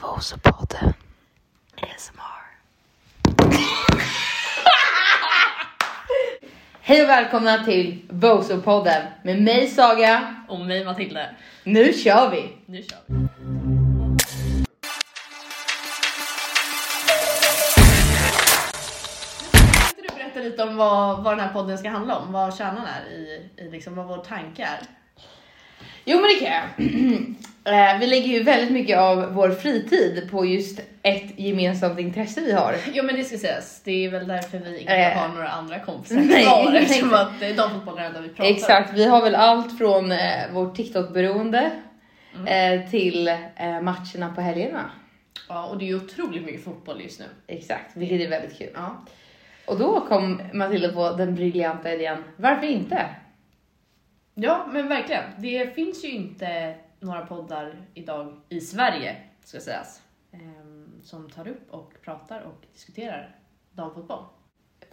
Gossepodden ASMR. Hej och välkomna till Bozo-podden med mig Saga. Och mig Matilda. Nu kör vi! Nu kör vi. Kan inte du berätta lite om vad, vad den här podden ska handla om? Vad kärnan är i, i liksom vad vår tanke är? Jo men det kan jag. Eh, vi lägger ju väldigt mycket av vår fritid på just ett gemensamt intresse vi har. Jo men det ska sägas, det är väl därför vi inte Eh. har några andra kompisar Nej, kvar nej. eftersom att det är de fotbollarna där vi pratar. Exakt, vi har väl allt från eh, vårt TikTok-beroende Mm. eh, till eh, matcherna på helgerna. Ja, och det är ju otroligt mycket fotboll just nu. Exakt, vilket är väldigt kul. Ja. Och då kom Matilda på den briljanta idén, varför inte? ja men verkligen, det finns ju inte några poddar idag i Sverige ska sägas ehm, som tar upp och pratar och diskuterar damfotboll.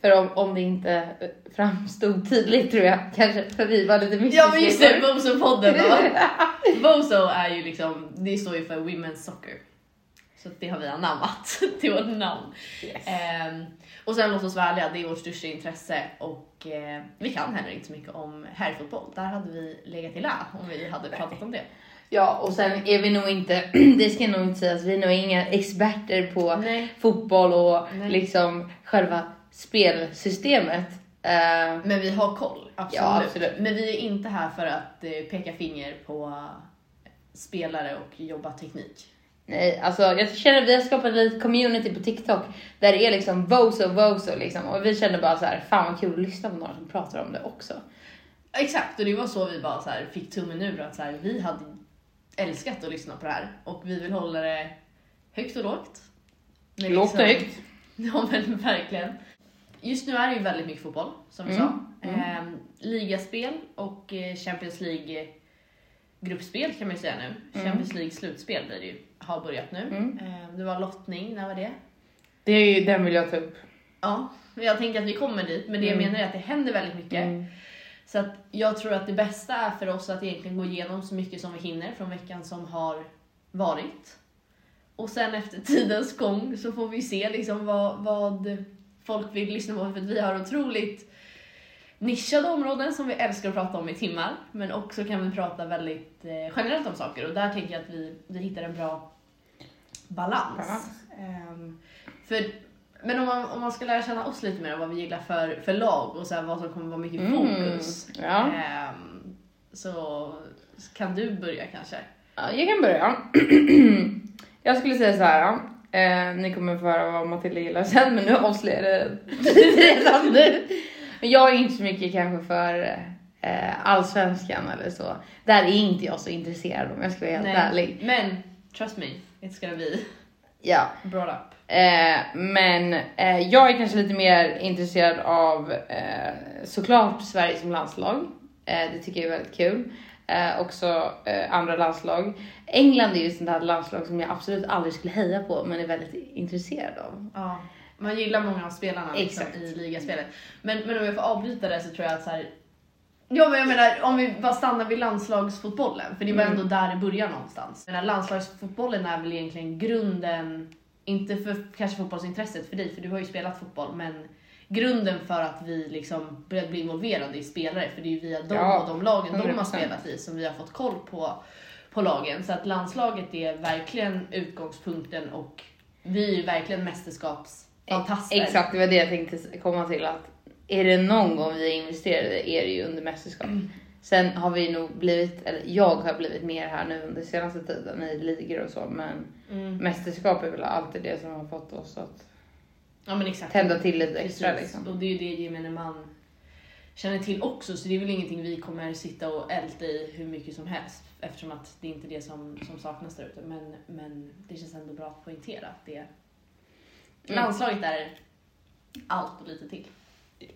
För om, om det inte eh, framstod tydligt tror jag, kanske för vi var lite mystiska. Ja men just det, igår. Bozo-podden då. Bozo är ju liksom, det står ju för Women's Soccer. Så att det har vi anammat till vårt namn. Yes. Ehm, och sen låt oss vara ärliga, det är vårt största intresse och eh, vi kan heller inte så mycket om herrfotboll. Där hade vi legat i lä om vi hade pratat om det. Ja, och sen är vi nog inte, det ska nog inte sägas, vi är nog inga experter på Nej. fotboll och Nej. liksom själva spelsystemet. Eh, Men vi har koll, absolut. Ja, absolut. Men vi är inte här för att eh, peka finger på spelare och jobba teknik. nej, alltså jag känner vi har skapat ett litet community på TikTok där det är liksom voso voso liksom och vi känner bara så här, fan vad kul att lyssna på några som pratar om det också. Exakt, och det var så vi bara så här, fick tummen ur att så här, vi hade älskat att lyssna på det här och vi vill hålla det högt och lågt. Men Lågt och högt. Ja men verkligen. Just nu är det ju väldigt mycket fotboll som vi Mm, sa. Ehm, ligaspel och eh, Champions League gruppspel kan man ju säga Mm. nu. Champions League slutspel blir det ju, har börjat nu. Ehm, det var lottning, när var det? Det är ju den vill jag ta upp. Ja, men jag tänker att vi kommer dit. Men det jag menar är att det händer väldigt mycket. Mm. Så att jag tror att det bästa är för oss att egentligen gå igenom så mycket som vi hinner från veckan som har varit. Och sen efter tidens gång så får vi se liksom vad, vad folk vill lyssna på. För att vi har otroligt nischade områden som vi älskar att prata om i timmar. Men också kan vi prata väldigt eh, generellt om saker. Och där tänker jag att vi, vi hittar en bra balans. Balans. Ehm, för men om man, om man ska lära känna oss lite mer om vad vi gillar för, för lag och så här, vad som kommer vara mycket fokus. Mm, ja. ehm, så kan du börja kanske. Ja, jag kan börja. jag skulle säga så här. Eh, ni kommer få höra vad Matilda gillar sen, men nu avslöjar jag det redan nu. Men jag är inte så mycket kanske för eh, allsvenskan eller så. Där är inte jag så intresserad om jag ska vara helt ärlig. Men trust me, it's gonna be Ja. brought up. Eh, men eh, jag är kanske lite mer intresserad av eh, såklart Sverige som landslag. Eh, det tycker jag är väldigt kul. Eh, också eh, andra landslag. England är ju ett sånt här landslag som jag absolut aldrig skulle heja på men är väldigt intresserad av. Ja, man gillar många av spelarna liksom, Exakt. i ligaspelet. Men, men om jag får avbryta det så tror jag att så här, Ja men jag menar om vi bara stannar vid landslagsfotbollen, för det var Mm. ändå där det började någonstans. Men landslagsfotbollen är väl egentligen grunden, inte för kanske fotbollsintresset för dig, för du har ju spelat fotboll, men grunden för att vi liksom började bli involverade i spelare, för det är ju via dem Ja, och de lagen de har 100%. spelat i som vi har fått koll på, på lagen. Så att landslaget är verkligen utgångspunkten och vi är ju verkligen mästerskapsfantaster. Exakt, det var det jag tänkte komma till att är det någon gång vi investerade är det ju under mästerskap. Sen har vi nog blivit, eller jag har blivit mer här nu under senaste tiden i ligor och så men Mm. mästerskap är väl alltid det som har fått oss att Ja men exakt. tända till lite Precis. extra liksom. Och det är ju det gemene man känner till också så det är väl ingenting vi kommer sitta och älta i hur mycket som helst eftersom att det är inte är det som, som saknas där ute. Men, men det känns ändå bra att poängtera att det Mm. landslaget är allt och lite till.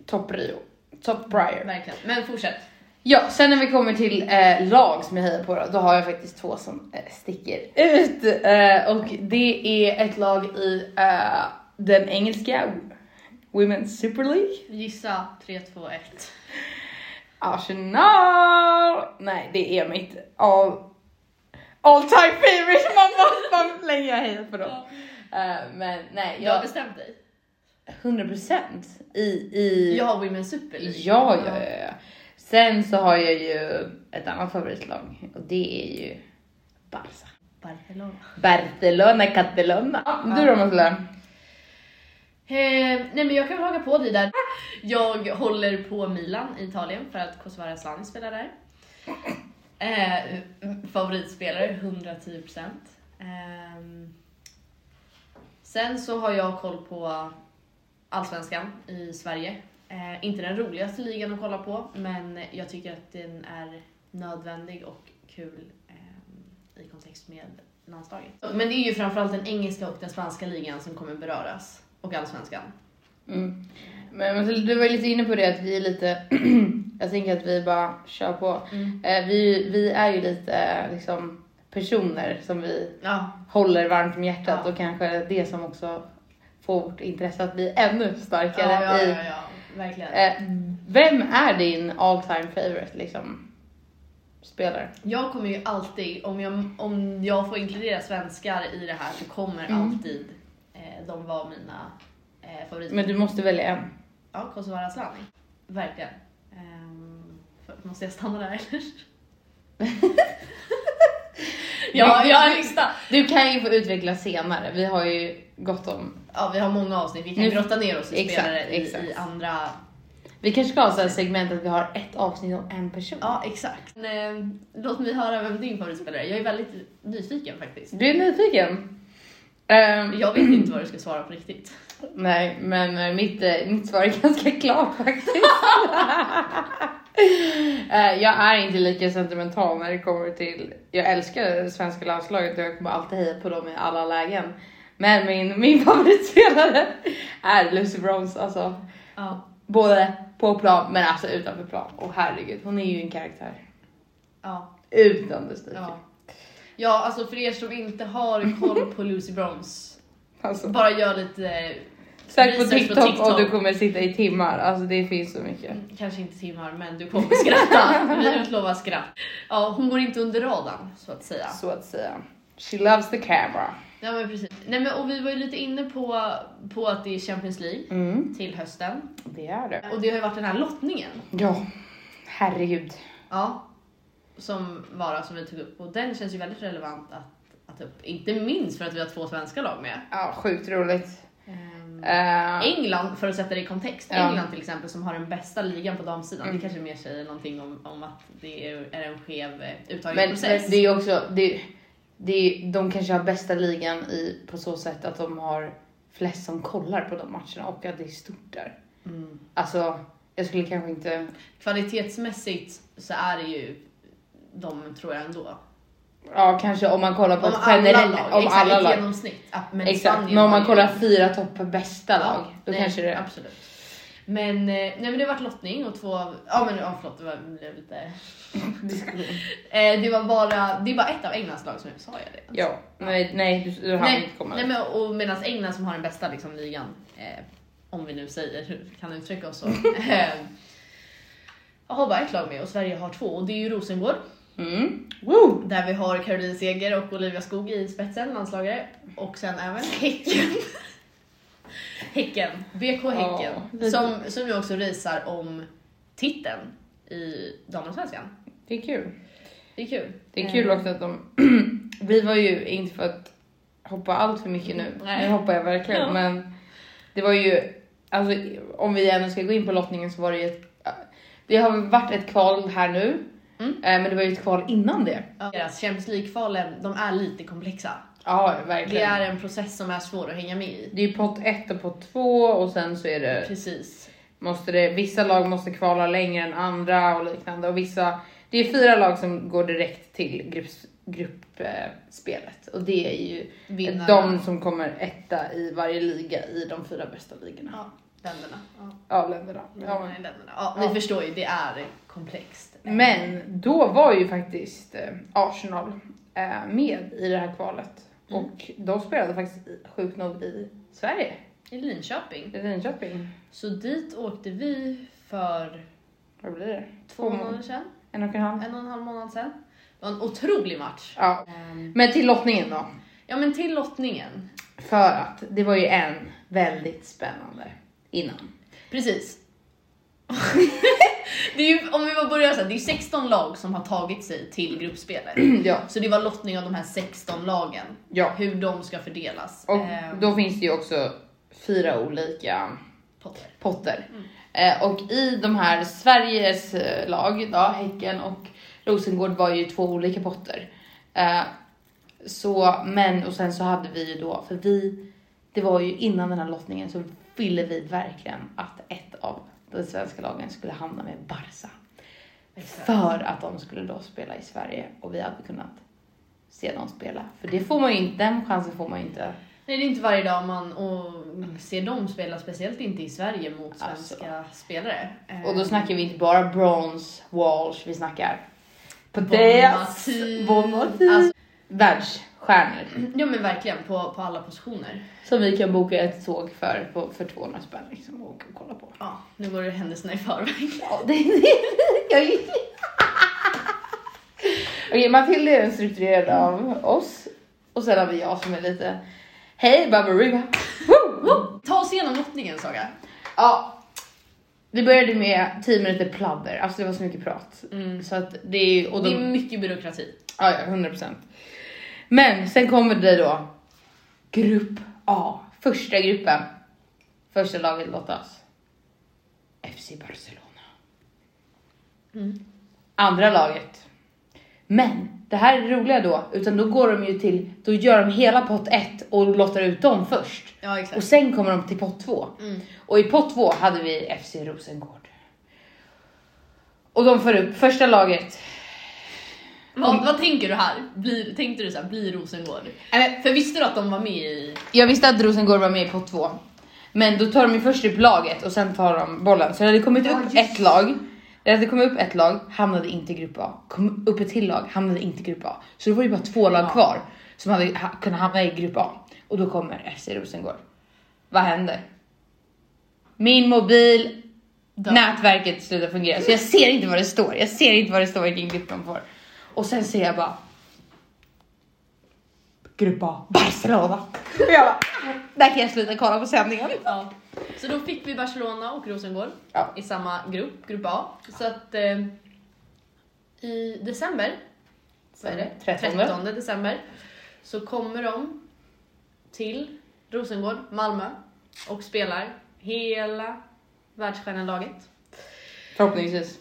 Topp Rio. Topp Briar. Verkligen. Men fortsätt. Ja, sen när vi kommer till eh, lag som jag hejar på då, då har jag faktiskt två som eh, sticker ut. Eh, och det är ett lag i eh, den engelska Women's Super League. Gissa 3, 2, 1. Arsenal! Nej, det är mitt all, all time favorite. Man måste man länge jag hejat på dem. Ja. Eh, men nej, Du har jag, bestämt dig. 100% i, i Jag har Women's Super League. Ja, ja, ja, ja. Sen så har jag ju ett annat favoritlag och det är ju Barca. Barcelona. Barcelona, Catalona. du då Matilda? Eh, nej men jag kan väl haka på dig där. Jag håller på Milan i Italien för att Kosovare Asllani spelar där. Eh, favoritspelare, 110%. Eh, sen så har jag koll på Allsvenskan i Sverige. Eh, inte den roligaste ligan att kolla på, men jag tycker att den är nödvändig och kul eh, i kontext med landslaget. Men det är ju framförallt den engelska och den spanska ligan som kommer beröras. Och allsvenskan. Mm. Men Matilda, du var ju lite inne på det att vi är lite, jag tänker att vi bara kör på. Mm. Eh, vi, vi är ju lite eh, liksom personer som vi Ja, håller varmt om hjärtat Ja. och kanske det som också får vårt intresse att bli ännu starkare ja, ja, i ja, ja. verkligen. Eh, vem är din all time favorite liksom, spelare? Jag kommer ju alltid, om jag, om jag får inkludera svenskar i det här så kommer alltid eh, de vara mina eh, favoriter. Men du måste välja en. Ja, Kosovare Asllani. Verkligen. Ehm, för- måste jag stanna där eller? ja, jag har en lista. Du kan ju få utveckla senare. Vi har ju gott om. Ja, vi har många avsnitt. Vi kan Nu- grotta ner oss i Exakt, spelare i, exakt. i andra Vi kanske ska ha så här segment att vi har ett avsnitt om en person. Ja, exakt. Men, eh, låt mig höra vem din favoritspelare är. Jag är väldigt nyfiken faktiskt. Du är nyfiken? Ehm, Jag vet inte vad du ska svara på riktigt. nej, men eh, mitt, eh, mitt svar är ganska klart faktiskt. Eh, jag är inte lika sentimental när det kommer till... Jag älskar det svenska landslaget och jag kommer alltid heja på dem i alla lägen. Men min, min favoritspelare är Lucy Bronze. Alltså, Ja, Både på plan men alltså utanför plan. Och herregud, hon är ju en karaktär. ja, Utan dess like. ja. Ja, alltså för er som inte har koll på Lucy Bronze, Alltså, bara gör lite, Sök på research på TikTok, TikTok. och du kommer sitta i timmar. Alltså det finns så mycket. eh, kanske inte timmar, men du kommer skratta. Vi utlovar skratt. Ja, hon går inte under radarn så att säga. Så att säga. She loves the camera. Ja, men precis. Nej, men och vi var ju lite inne på, på att det är Champions League Mm, till hösten det är det. och det har ju varit den här lottningen. Ja, herregud. Ja. Som vara som vi tog upp och den känns ju väldigt relevant att, att ta upp. Inte minst för att vi har två svenska lag med. Ja, sjukt roligt. Ehm, Eh, England, för att sätta det i kontext, Ja. England till exempel som har den bästa ligan på damsidan. Mm. Det kanske mer säger någonting om, om att det är, är en skev men, eh, men uttagningsprocess. det är ju också, det, det är, de kanske har bästa ligan i, på så sätt att de har flest som kollar på de matcherna och att det är stort där. Mm. Alltså, jag skulle kanske inte Kvalitetsmässigt så är det ju de tror jag ändå. Ja, kanske om man kollar på Om ett alla generellt... lag, Om exakt, alla ett lag. genomsnitt. Ja, men Exakt, Spanien men om har man ju- kollar fyra topp bästa lag, då nej, kanske det... Absolut. Men, eh, nej, men det har varit lottning och två av... Ja men ja, förlåt, det var, det blev lite... Eh, det var bara... Det är bara ett av Englands lag som är... Sa jag det? Ja, nej, nej du, du hann nej, inte komma nej men och medan England som har den bästa liksom, ligan, eh, om vi nu säger, kan uttrycka oss så. eh, har bara ett lag med och Sverige har två och det är ju Rosengård. mm. Woo! Där vi har Caroline Seger och Olivia Skog i spetsen, landslagare. Och sen även Häcken. häcken. BK Häcken. Ja, det- som, som ju också racear om titeln i damallsvenskan. Det är kul. Det är kul. Det är kul Eh. också att de... vi var ju, inte för att hoppa allt för mycket nu, Mm, Nej. nu hoppar jag verkligen, Ja. men det var ju... Alltså, om vi ändå ska gå in på lottningen så var det ju ett... Det har varit ett kval här nu, Mm. eh, men det var ju ett kval innan det. Ja, Deras Champions League-kvalen, de är lite komplexa. Ja, verkligen. Det är en process som är svår att hänga med i. Det är pott 1 och pott 2 och sen så är det, Precis. måste det, vissa lag måste kvala längre än andra och liknande och vissa, det är fyra lag som går direkt till grupps, gruppspelet och det är ju Vinnarna. de som kommer etta i varje liga i de fyra bästa ligorna. Ja, Mm. länderna. Ja, Ja, länderna. Ja, vinnarna men. i länderna. Ja, ni Ja. förstår ju, det är komplext. Men då var ju faktiskt eh, Arsenal eh, med i det här kvalet Mm. och de spelade faktiskt i- sjukt nog i Sverige, I Linköping. i Linköping. Så dit åkte vi för Vad blir det? två Mm. månader sedan. En och en halv? en och en halv månad sedan. Det var en otrolig match. Ja, Ehm, Men till lottningen då. Ja Ja men till lottningen. För att det var ju en väldigt spännande innan. Precis. det är ju, om vi bara börjar så här, det är 16 lag som har tagit sig till gruppspelet. ja. Så det var lottning av de här 16 lagen. ja. Hur de ska fördelas. Och Ehm, då finns det ju också fyra olika Potter. potter. Eh, och i de här Sveriges eh, lag, då, Häcken och Rosengård var ju två olika potter. Eh, så, men och sen så hade vi ju då, för vi, det var ju innan den här lottningen så ville vi verkligen att ett av de svenska lagen skulle hamna med Barca. Exakt. För att de skulle då spela i Sverige och vi hade kunnat se dem spela. För det får man ju inte, den chansen får man ju inte. Nej, det är inte varje dag man och ser dem spela, speciellt inte i Sverige mot Alltså. svenska spelare. Ehm, Och då snackar vi inte bara Brons, Walsh, vi snackar Pateas, Bonmati. Bonmati. Alltså, Världsstjärnor ja men verkligen, på, på alla positioner. som vi kan boka ett tåg för på, för 200 spänn liksom, och åka och kolla på. Ja, nu går det händelserna i förväg. Ja, det, det, jag gick... Okej, Matilda är den strukturerade av oss och sen har vi jag som är lite Hej Baberiba! Ta oss igenom lottningen Saga. Ja, det började med 10 minuter pladder, alltså det var så mycket prat. Så att det är ju... och Det de- är mycket byråkrati. Ja, ja, 100 procent. Men sen kommer det då grupp A, första gruppen. Första laget lottas. FC Barcelona. Mm. Andra laget. Men det här är det roliga då, utan då går de ju till, då gör de hela pott 1 och lottar ut dem först. Ja Och exakt. sen kommer de till pott 2. Mm. Och i pott 2 hade vi FC Rosengård. Och de får upp första laget. Vad, vad tänker du här? Blir, tänkte du så här, blir Rosengård? Eller, För visste du att de var med i... Jag visste att Rosengård var med på två. Men då tar de ju först upp laget och sen tar de bollen. Så det hade kommit upp ett lag. Det hade kommit upp ett lag, hamnade inte i grupp A. Kom upp ett till lag, hamnade inte i grupp A. Så det var ju bara två lag kvar som hade ha, kunnat hamna i grupp A. Och då kommer FC Rosengård. Vad händer? Min mobil, Dör. nätverket slutar fungera. Så jag ser inte vad det står. Jag ser inte vad det står vilken grupp de får. Och sen ser jag bara grupp A, Barcelona. Och jag bara, där kan jag sluta kolla på sändningen. Ja. Så då fick vi Barcelona och Rosengård Ja. i samma grupp, grupp A. Så att eh, i december, vad är det? 13. 13 december, så kommer de till Rosengård, Malmö och spelar hela världsstjärnelaget. Förhoppningsvis.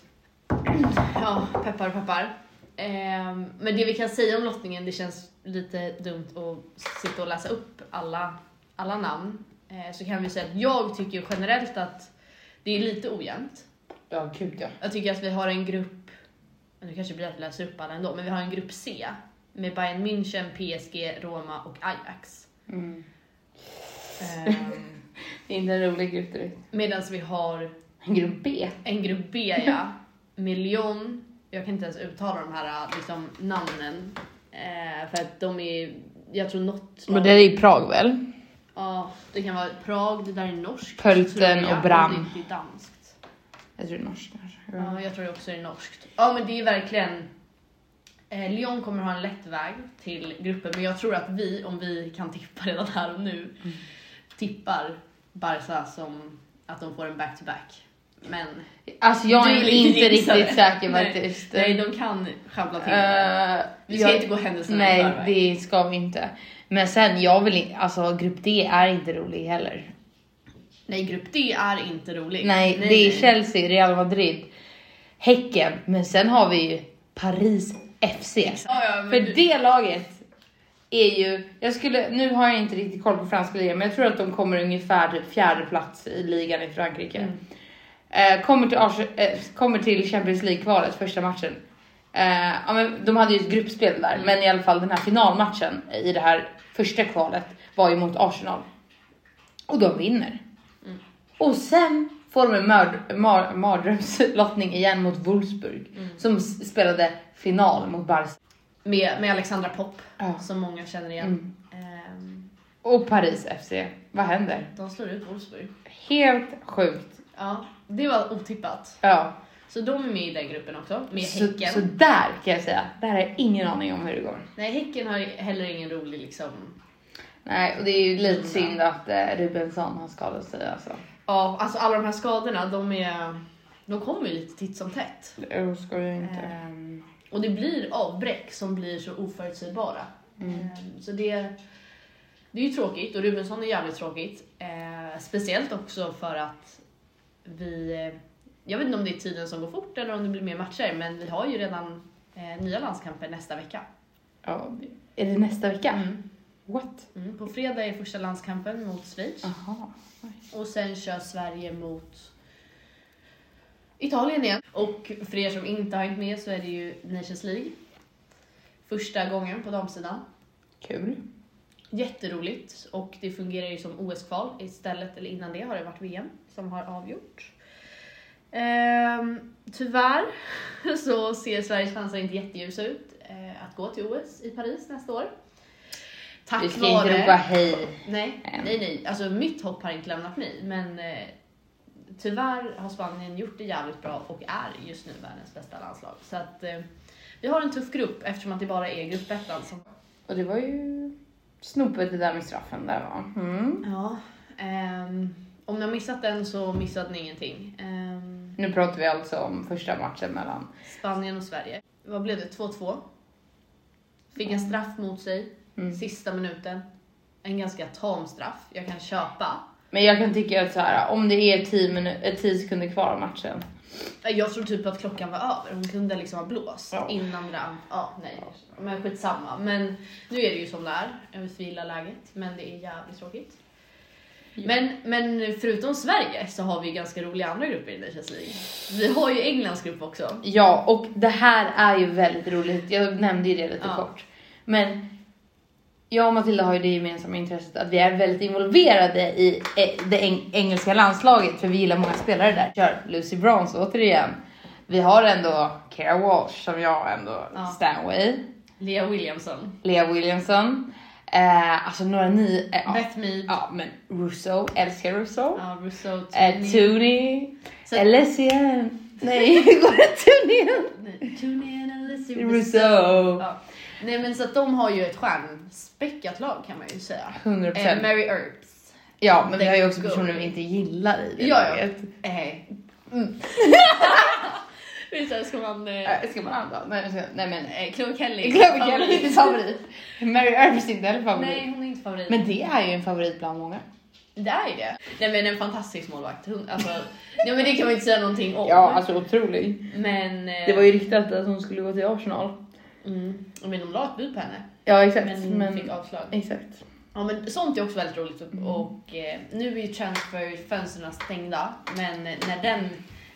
Ja, peppar peppar. Ehm, men det vi kan säga om lottningen, det känns lite dumt att sitta och läsa upp alla, alla namn. Eh, så kan vi säga att jag tycker ju generellt att det är lite ojämnt. Ja, gud ja. Jag tycker att vi har en grupp, nu kanske det blir att vi läser upp alla ändå, men vi har en grupp C med Bayern München, PSG, Roma och Ajax. Mm. Ehm, Det är inte en rolig grupp direkt. Medan vi har Grupp B. En grupp B ja. Med Lyon. Jag kan inte ens uttala de här liksom, namnen. Eh, för att de är, jag tror något lag- ju Prag väl? Ja, det kan vara Prag, det där är norskt. Pölten tror jag, och Bram. och Det är inte danskt. Jag tror norskt kanske. Ja, jag tror också det är norskt. Ja, men det är verkligen... Eh, Lyon kommer ha en lätt väg till gruppen, men jag tror att vi, om vi kan tippa redan här och nu, tippar Barca som att de får en back-to-back. Men Alltså jag är Du inte gissade. riktigt säker Nej. faktiskt. Nej, de kan sjabbla till det. Eh, Vi ska jag- inte gå händelserna i Nej, förväg. det ska vi inte. Men sen, jag vill inte, alltså grupp D är inte rolig heller. Nej, grupp D är inte rolig. Nej, det är Chelsea, Real Madrid, Häcken, men sen har vi ju Paris FC. Ja, ja, men För du- det laget är ju, jag skulle, nu har jag inte riktigt koll på franska ligan, men jag tror att de kommer ungefär typ fjärde plats i ligan i Frankrike. Mm. Eh, kommer, till Ars- eh, kommer till Champions League-kvalet första matchen. Eh, ja, men de hade ju ett gruppspel där, Mm. men i alla fall den här finalmatchen i det här första kvalet var ju mot Arsenal. Och de vinner. Och sen får de en mörd, mar, mardrömslottning igen mot Wolfsburg som s- spelade final mot Barca. Med, med Alexandra Pop, Ja. som många känner Mm. igen. Ehm, Och Paris FC, vad händer? de slår ut Wolfsburg. Helt sjukt. Ja, det var otippat. Ja, Så de är med i den gruppen också, med Så, Häcken. så där kan jag säga. Där har jag ingen aning om hur det går. Nej, Häcken har heller ingen rolig liksom... Nej, och det är ju lite synd att eh, Rubensson har skadat sig alltså. Ja, alltså alla de här skadorna, de är... De kommer ju lite titt som tätt. Jag skojar inte. Ehm, och det blir avbräck som blir så oförutsägbara. Ehm, så det, det är ju tråkigt och Rubensson är jävligt tråkigt. Ehm, speciellt också för att vi, eh, jag vet inte om det är tiden som går fort eller om det blir mer matcher, men vi har ju redan eh, nya landskamper nästa vecka. Ja, det- är det nästa vecka? What? Mm, på fredag är första landskampen mot Schweiz Aha. och sen kör Sverige mot Italien igen. Och för er som inte har hängt med så är det ju Nations League. Första gången på damsidan. Kul. Jätteroligt och det fungerar ju som OS-kval istället, eller innan det har det varit VM som har avgjort. Ehm, tyvärr så ser Sveriges chanser inte jätteljusa ut eh, att gå till OS i Paris nästa år. Tack Vi ska vare... inte ropa hej. Nej, nej, nej. Alltså mitt hopp har inte lämnat mig, men eh, tyvärr har Spanien gjort det jävligt bra och är just nu världens bästa landslag. Så att eh, vi har en tuff grupp eftersom att det bara är alltså. gruppettan som Och det var ju snopet det där med straffen där va? Mm. Ja. ehm, om ni har missat den så missade ni ingenting. Ehm, Nu pratar vi alltså om första matchen mellan Spanien och Sverige. Vad blev det? 2-2. Fick en straff mot sig. Sista minuten. En ganska tam straff. Jag kan köpa. Men jag kan tycka att så här, om det är 10 minu- eh, 10 sekunder kvar av matchen. Eh, Jag tror typ att klockan var över. Hon kunde liksom ha blåst Ja. innan det an- Ja, nej. Men skitsamma. Men nu är det ju som det är. Jag gillar läget, men det är jävligt tråkigt. Men, men förutom Sverige så har vi ju ganska roliga andra grupper i Nations League. Vi har ju Englands grupp också. Ja, och det här är ju väldigt roligt. Jag nämnde ju det lite Ja. kort. Men jag och Matilda har ju det gemensamma intresset att vi är väldigt involverade i eh, det eng- engelska landslaget för vi gillar många spelare där. Kör Lucy Bronze återigen. Vi har ändå Kara Walsh som jag ändå Ja. Stanway, Lea Williamson, Lea Williamson, eh, alltså några nya. Eh, ja. Beth Mead, ja. ja, men Russo, älskar Russo. Rousseau, Eh, Tooney. Tony. Så- Alessian. Nej, går det Tony? Nej, Tooney and Alicia Rousseau. Rousseau. Ja. Nej men så att de har ju ett stjärnspäckat lag kan man ju säga. 100%. Eh, Mary Earps. Ja, men vi har ju Let också go. personer vi inte gillar i det Ja, ja. laget. Eh. Mm. Visst är det ska man... Eh, Eh, Ska man anda? Nej, jag ska- nej men. eh, Chloe Kelly. Glöm Kelly är Favorit. inte favorit. Mary Earps är inte heller favorit. Nej hon är inte favorit. Men det är ju en favorit bland många. det är ju det. Nej men en fantastisk målvakt. Hon, alltså, nej men det kan man inte säga någonting om. alltså otrolig. Men... Eh, Det var ju riktat att hon skulle gå till Arsenal. mm, men de la ett bud på henne. Ja, exakt. Men, Men, Mm. hon fick avslag. Exakt. Ja men sånt är också väldigt roligt och, och eh, nu är ju transferfönstren stängda men när den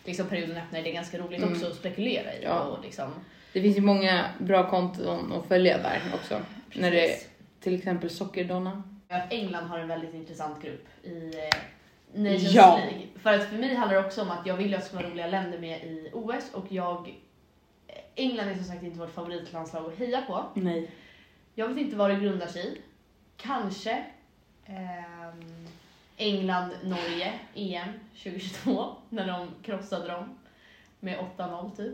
liksom, perioden öppnar är det ganska roligt också att spekulera i Mm. Ja. och liksom Det finns ju många bra konton att följa där också. När det är till exempel Sockerdonna. att England har en väldigt intressant grupp i eh, Nations Ja. League. För att för mig handlar det också om att jag vill ju att det ska vara roliga länder med i OS och jag eh, England är som sagt inte vårt favoritlandslag att heja på. Nej. Jag vet inte vad det grundar sig i. Kanske ehm, England-Norge, EM 2022, när de krossade dem med 8-0 typ.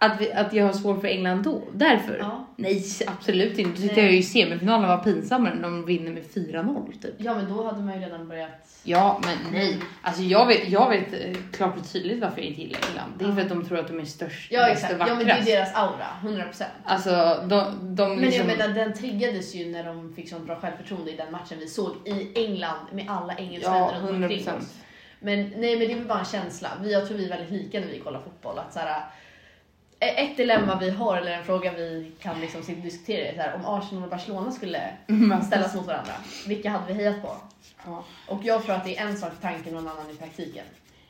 Att, vi, att jag har svårt för England då? Därför? Ja. Nej, absolut inte. Då tyckte Nej. jag ju semifinalen var pinsammare när de vinner med 4-0 typ. Ja, men då hade man ju redan börjat... Ja, men nej. Alltså jag vet, jag vet eh, klart och tydligt varför jag inte gillar England. Det är för att de tror att de är störst, Ja, bäst exakt. och Ja, men vackrast. det är deras aura, 100%. Alltså de, de Men jag liksom... menar, den triggades ju när de fick sånt bra självförtroende i den matchen vi såg i England med alla engelsmän ja, runt 100 omkring procent. oss. Men nej, men det är väl bara en känsla. Vi, jag tror vi är väldigt lika när vi kollar fotboll. Att så här, eh, ett dilemma vi har, eller en fråga vi kan liksom sitta och diskutera, är så här, om Arsenal och Barcelona skulle Mm. ställas mot varandra, vilka hade vi hejat på? alltså. Ja. Och jag tror att det är en sak i tanken och en annan i praktiken.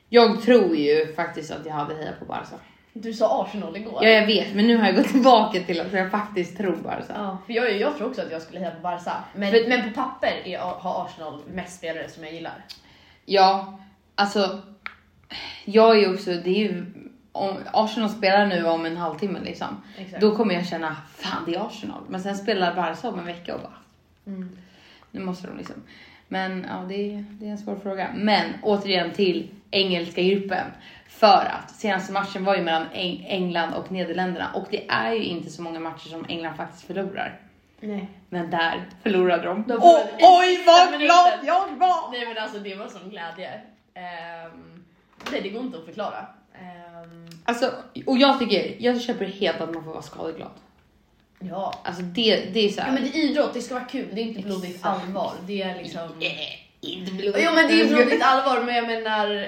Jag tror ju faktiskt att jag hade hejat på Barca. Du sa Arsenal igår. Ja, jag vet, men nu har jag gått tillbaka till att jag faktiskt tror Barca. Ja, för jag, jag tror också att jag skulle heja på Barca. Men, men på papper är, har Arsenal mest spelare som jag gillar. Ja, alltså. Jag är ju också, det är ju, om Arsenal spelar nu om en halvtimme liksom. Exakt. Då kommer jag känna, Mm. fan det är Arsenal. Men sen spelar Barca om en vecka och bara, nu måste de liksom. Men ja, det är, det är en svår fråga. Men återigen till engelska gruppen. För att senaste matchen var ju mellan Eng- England och Nederländerna och det är ju inte så många matcher som England faktiskt förlorar. Nej. Men där förlorade de. De och, förlorade i oj vad sista glad minuten. jag var! Nej men alltså det var sån glädje. Ehm, nej det går inte att förklara. Ehm, Alltså, och jag tycker, jag köper helt att man får vara skadeglad. ja. Alltså det, det är så ja här. men det är idrott, det ska vara kul. Det är inte blodigt Exakt. allvar. Det är liksom... Eh, Inte blod. Jo men det är blodigt allvar men jag menar,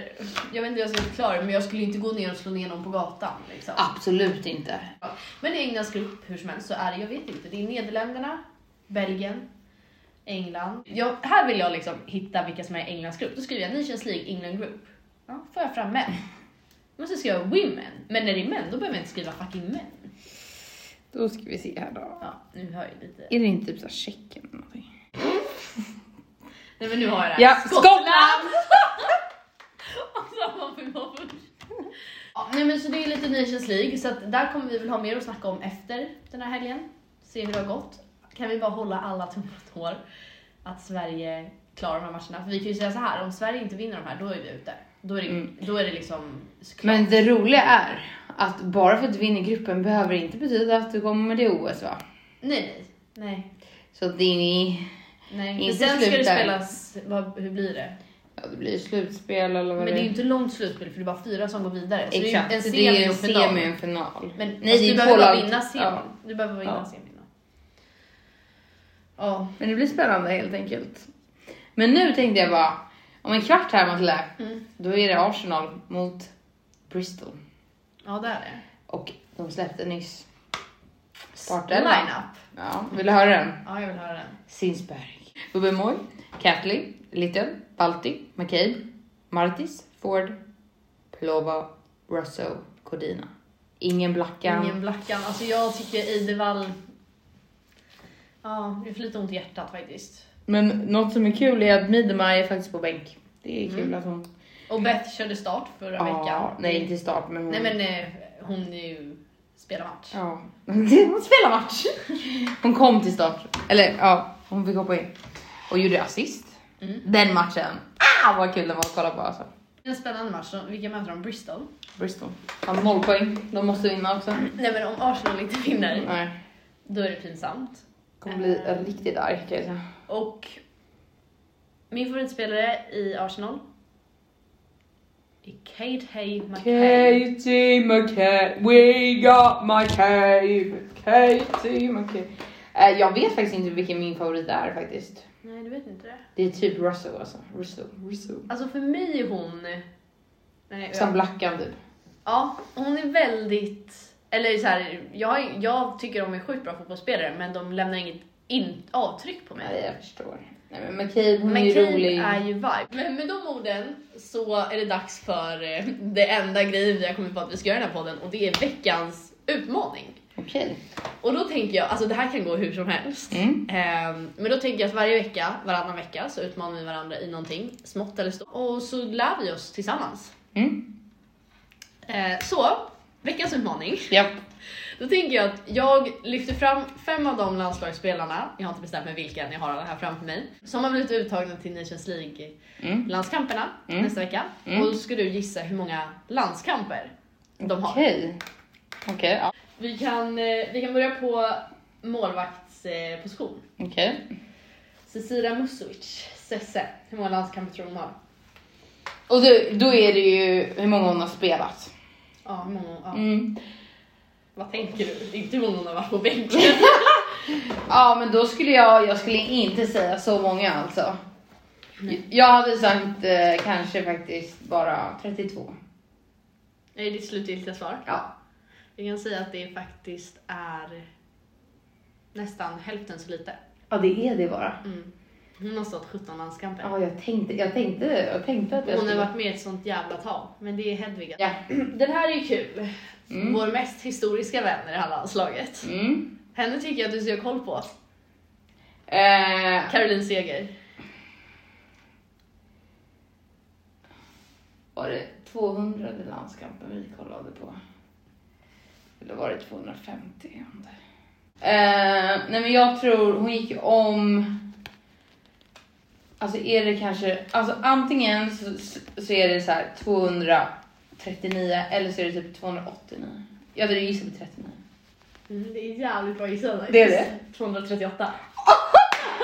jag vet inte hur jag ska förklara det, men jag skulle inte gå ner och slå ner någon på gatan. Liksom. Absolut inte. Men i Englands grupp hur som helst så är det, jag vet inte, det är Nederländerna, Belgien, England. Jag, här vill jag liksom hitta vilka som är i Englands grupp. Då skriver jag Nations League England Group. Ja, får jag fram män. Men så skriver jag women. Men när det är män då behöver jag inte skriva fucking män. Då ska vi se här då. Ja, nu hör jag lite. Är det inte typ såhär Tjeckien eller någonting? Nej men nu har jag det. Ja, här. Skottland! Alltså, vad vi var först. Ja, nej men så det är lite Nations League så att där kommer vi väl ha mer att snacka om efter den här helgen. Se hur det har gått. Kan vi bara hålla alla tummar och tår att Sverige klarar de här matcherna. För vi kan ju säga så här, om Sverige inte vinner de här då är vi ute. Då är det, Mm. då är det liksom klart. Men det roliga är att bara för att du vinner gruppen behöver det inte betyda att du kommer till OS va? Nej, nej. Så att det är ni... nej. Inte Inte sen ska slut det där. spelas, vad, hur blir det? Ja det blir slutspel eller vad Men det är ju inte långt slutspel för det är bara fyra som går vidare. Så Exakt, det är ju en det är ju semi och en final. semi och en final. Men Nej, det du är behöver två bara lag. vinna semin. Ja. Du behöver bara vinna Ja. semin. då. Ja. Men det blir spännande helt enkelt. Men nu tänkte jag bara, om en kvart här Matilda, Mm. då är det Arsenal mot Bristol. ja, det är det. Och de släppte nyss. Startelva. Line-up. Ja, vill du höra den? Ja, jag vill höra den. Sinsberg. Bobby Moy, Catley, Little, Balti, McCabe, Martis, Ford, Plova, Russo, Codina. Ingen Blackan. Ingen Blackan. Alltså jag tycker Eidevall... Ja, det är för lite ont i hjärtat faktiskt. Men något som är kul är att Midemar är faktiskt på bänk. Det är kul att hon... Och Beth körde start förra Ja, Mm. veckan. nej inte start men hon... Nej men eh, hon är ju spelar match. Ja. Hon spelar match. Hon kom till start. Eller ja, hon fick hoppa in. Och gjorde assist. Mm. Den matchen. Ah vad kul den var att kolla på alltså. Det är en spännande match. Så Vilka möter de? Bristol? Bristol. Har noll poäng. De måste vinna också. Nej men om Arsenal inte vinner, Nej. då är det pinsamt. Kommer bli riktigt arg kan jag säga. Och min favoritspelare i Arsenal är Kate Hay McKay. Katie McCabe, we got my cave. Katie McCabe. Eh, jag vet faktiskt inte vilken min favorit är faktiskt. Nej, du vet inte det. Det är typ Russell alltså. Russell. Russell. Alltså för mig är hon... Nej, Som jag, Blackan typ. ja, hon är väldigt... Eller så här, jag, jag tycker de är sjukt bra fotbollsspelare men de lämnar inget in, avtryck på mig. Nej jag förstår. Nej men McCabe hon är ju McCabe rolig. är ju vibe. Men med de orden så är det dags för eh, det enda grejen vi har kommit på att vi ska göra i den här podden och det är veckans utmaning. Okej. Och då tänker jag, alltså det här kan gå hur som helst. Mm. Ehm, men då tänker jag att varje vecka, varannan vecka, så utmanar vi varandra i någonting, smått eller stort. Och så lär vi oss tillsammans. Mm. Ehm, så, veckans utmaning. Japp. Då tänker jag att jag lyfter fram fem av de landslagsspelarna, jag har inte bestämt mig vilken, jag har alla här framför mig, som har blivit uttagna till Nations Mm. League-landskamperna Mm. nästa vecka. Mm. Och då ska du gissa hur många landskamper de har. Okej. Okej. ja. Vi, kan, eh, vi kan börja på målvaktsposition. Okej. Cecilia Musovic, Sesse. Hur många landskamper tror du hon har? Och då, då är det ju hur många hon har spelat. Ja, hur många, ja. Mm. Vad tänker du? Inte hur många hon har varit på bänken. Ja men då skulle jag, jag skulle inte säga så många alltså. Jag hade sagt eh, kanske faktiskt bara 32. Det är ditt slutgiltiga svar. Ja. Jag kan säga att det faktiskt är nästan hälften så lite. Ja det är det bara. Mm. Hon har stått 17 landskamper. Ja jag tänkte, jag tänkte, jag tänkte att jag Hon har skulle... varit med i ett sånt jävla tag. Men det är Hedvig. Ja. Den här är ju kul. Mm. Vår mest historiska vän i det här landslaget. Mm. Henne tycker jag att du ska ha koll på. Eh, Caroline Seger. var det 200 landskampen vi kollade på? Eller var det 250? om det? Eh, nej men jag tror hon gick om Alltså är det kanske, alltså antingen så, så är det så här 239 eller så är det typ 289. Jag hade gissat på 39. Mm, det är jävligt bra gissat. Det är det. 238.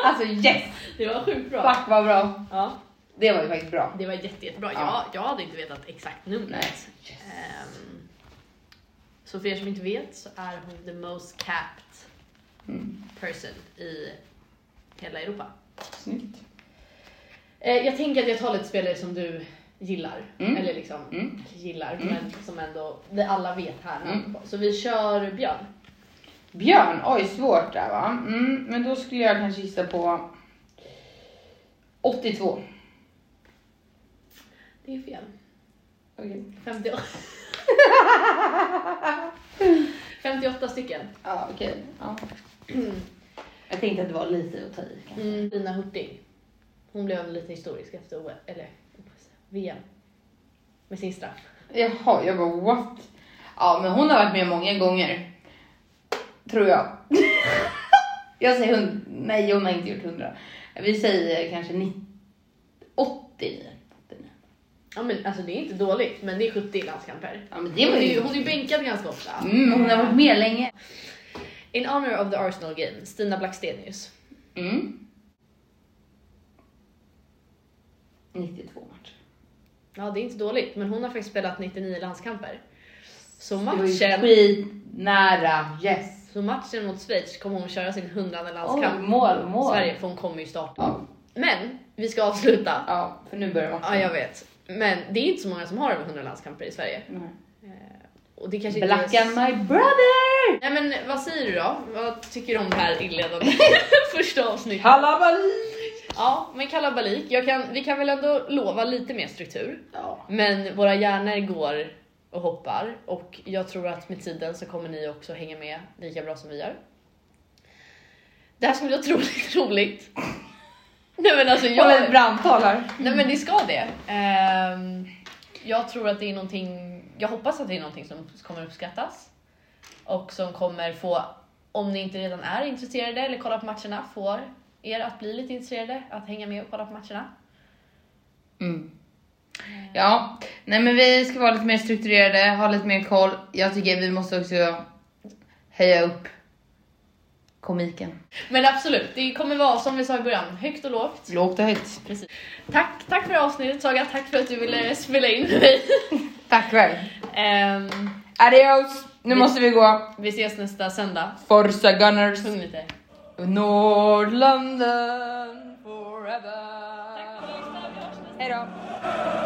Alltså yes! Det var sjukt bra. Fuck vad bra. Ja, Det var ju faktiskt bra. det var jätte, jättebra. Ja. Jag, jag hade inte vetat exakt numret. Nej. alltså, Ehm, så för er som inte vet så är hon the most capped Mm. person i hela Europa. Snyggt. Eh, jag tänker att jag tar lite spelare som du gillar. Mm. Eller liksom Mm. gillar, Mm. men som ändå vi alla vet här. Mm. Så vi kör Björn. Björn, oj svårt där va. Mm, men då skulle jag kanske gissa på 82. Det är fel. Okej. 58. 58 stycken. Ja okej. Ja. Jag tänkte att det var lite att ta i kanske. Mm. Lina Hurtig. Hon blev lite historisk efter OS, eller OS, VM. Med sin straff. Jaha, jag bara what? Ja, men hon har varit med många gånger. Tror jag. jag säger hund... Nej, hon har inte gjort hundra. Vi säger kanske 90... 89. 89. Ja men alltså det är inte dåligt, men det är 70 landskamper. Ja, men det Hon var är, ju, ju... hon är ju bänkad ganska ofta. Mm, hon har varit med länge. In honor of the Arsenal game, Stina Blackstenius. Mm. 92 matcher. Ja det är inte dåligt, men hon har faktiskt spelat 99 landskamper. Så Det var ju matchen, skitnära. Yes. så matchen mot Schweiz kommer hon köra sin hundrade Oj, landskamp. mål, mål. Sverige, för hon kommer ju starta. Ja, Men vi ska avsluta. ja, för nu börjar matchen. Ja, jag vet. Men det är inte så många som har över 100 landskamper i Sverige. Nej. Och det kanske Black inte är... and s- my brother! Nej men vad säger du då? Vad tycker du om det här inledande första avsnittet? Kalabalik! Ja, men kalabalik. Jag kan, vi kan väl ändå lova lite mer struktur. Ja. Men våra hjärnor går och hoppar och jag tror att med tiden så kommer ni också hänga med lika bra som vi gör. Det här ska bli otroligt roligt. Nej men alltså Jag är jag... brandtal här. Nej men det ska det. Ehm, jag tror att det är någonting, jag hoppas att det är någonting som kommer uppskattas. Och som kommer få, om ni inte redan är intresserade eller kollar på matcherna, får er att bli lite intresserade, att hänga med och kolla på matcherna. Mm. Ja, nej men vi ska vara lite mer strukturerade, ha lite mer koll. Jag tycker vi måste också höja upp komiken. Men absolut, det kommer vara som vi sa i början, högt och lågt. Lågt och högt. Precis. Tack, tack för avsnittet Saga, tack för att du ville spela in med mig. Tack väl. Ehm, Adios! Nu måste vi gå. vi ses nästa söndag. Forza Gunners. Sjung lite. Nordlanden forever. Hej då.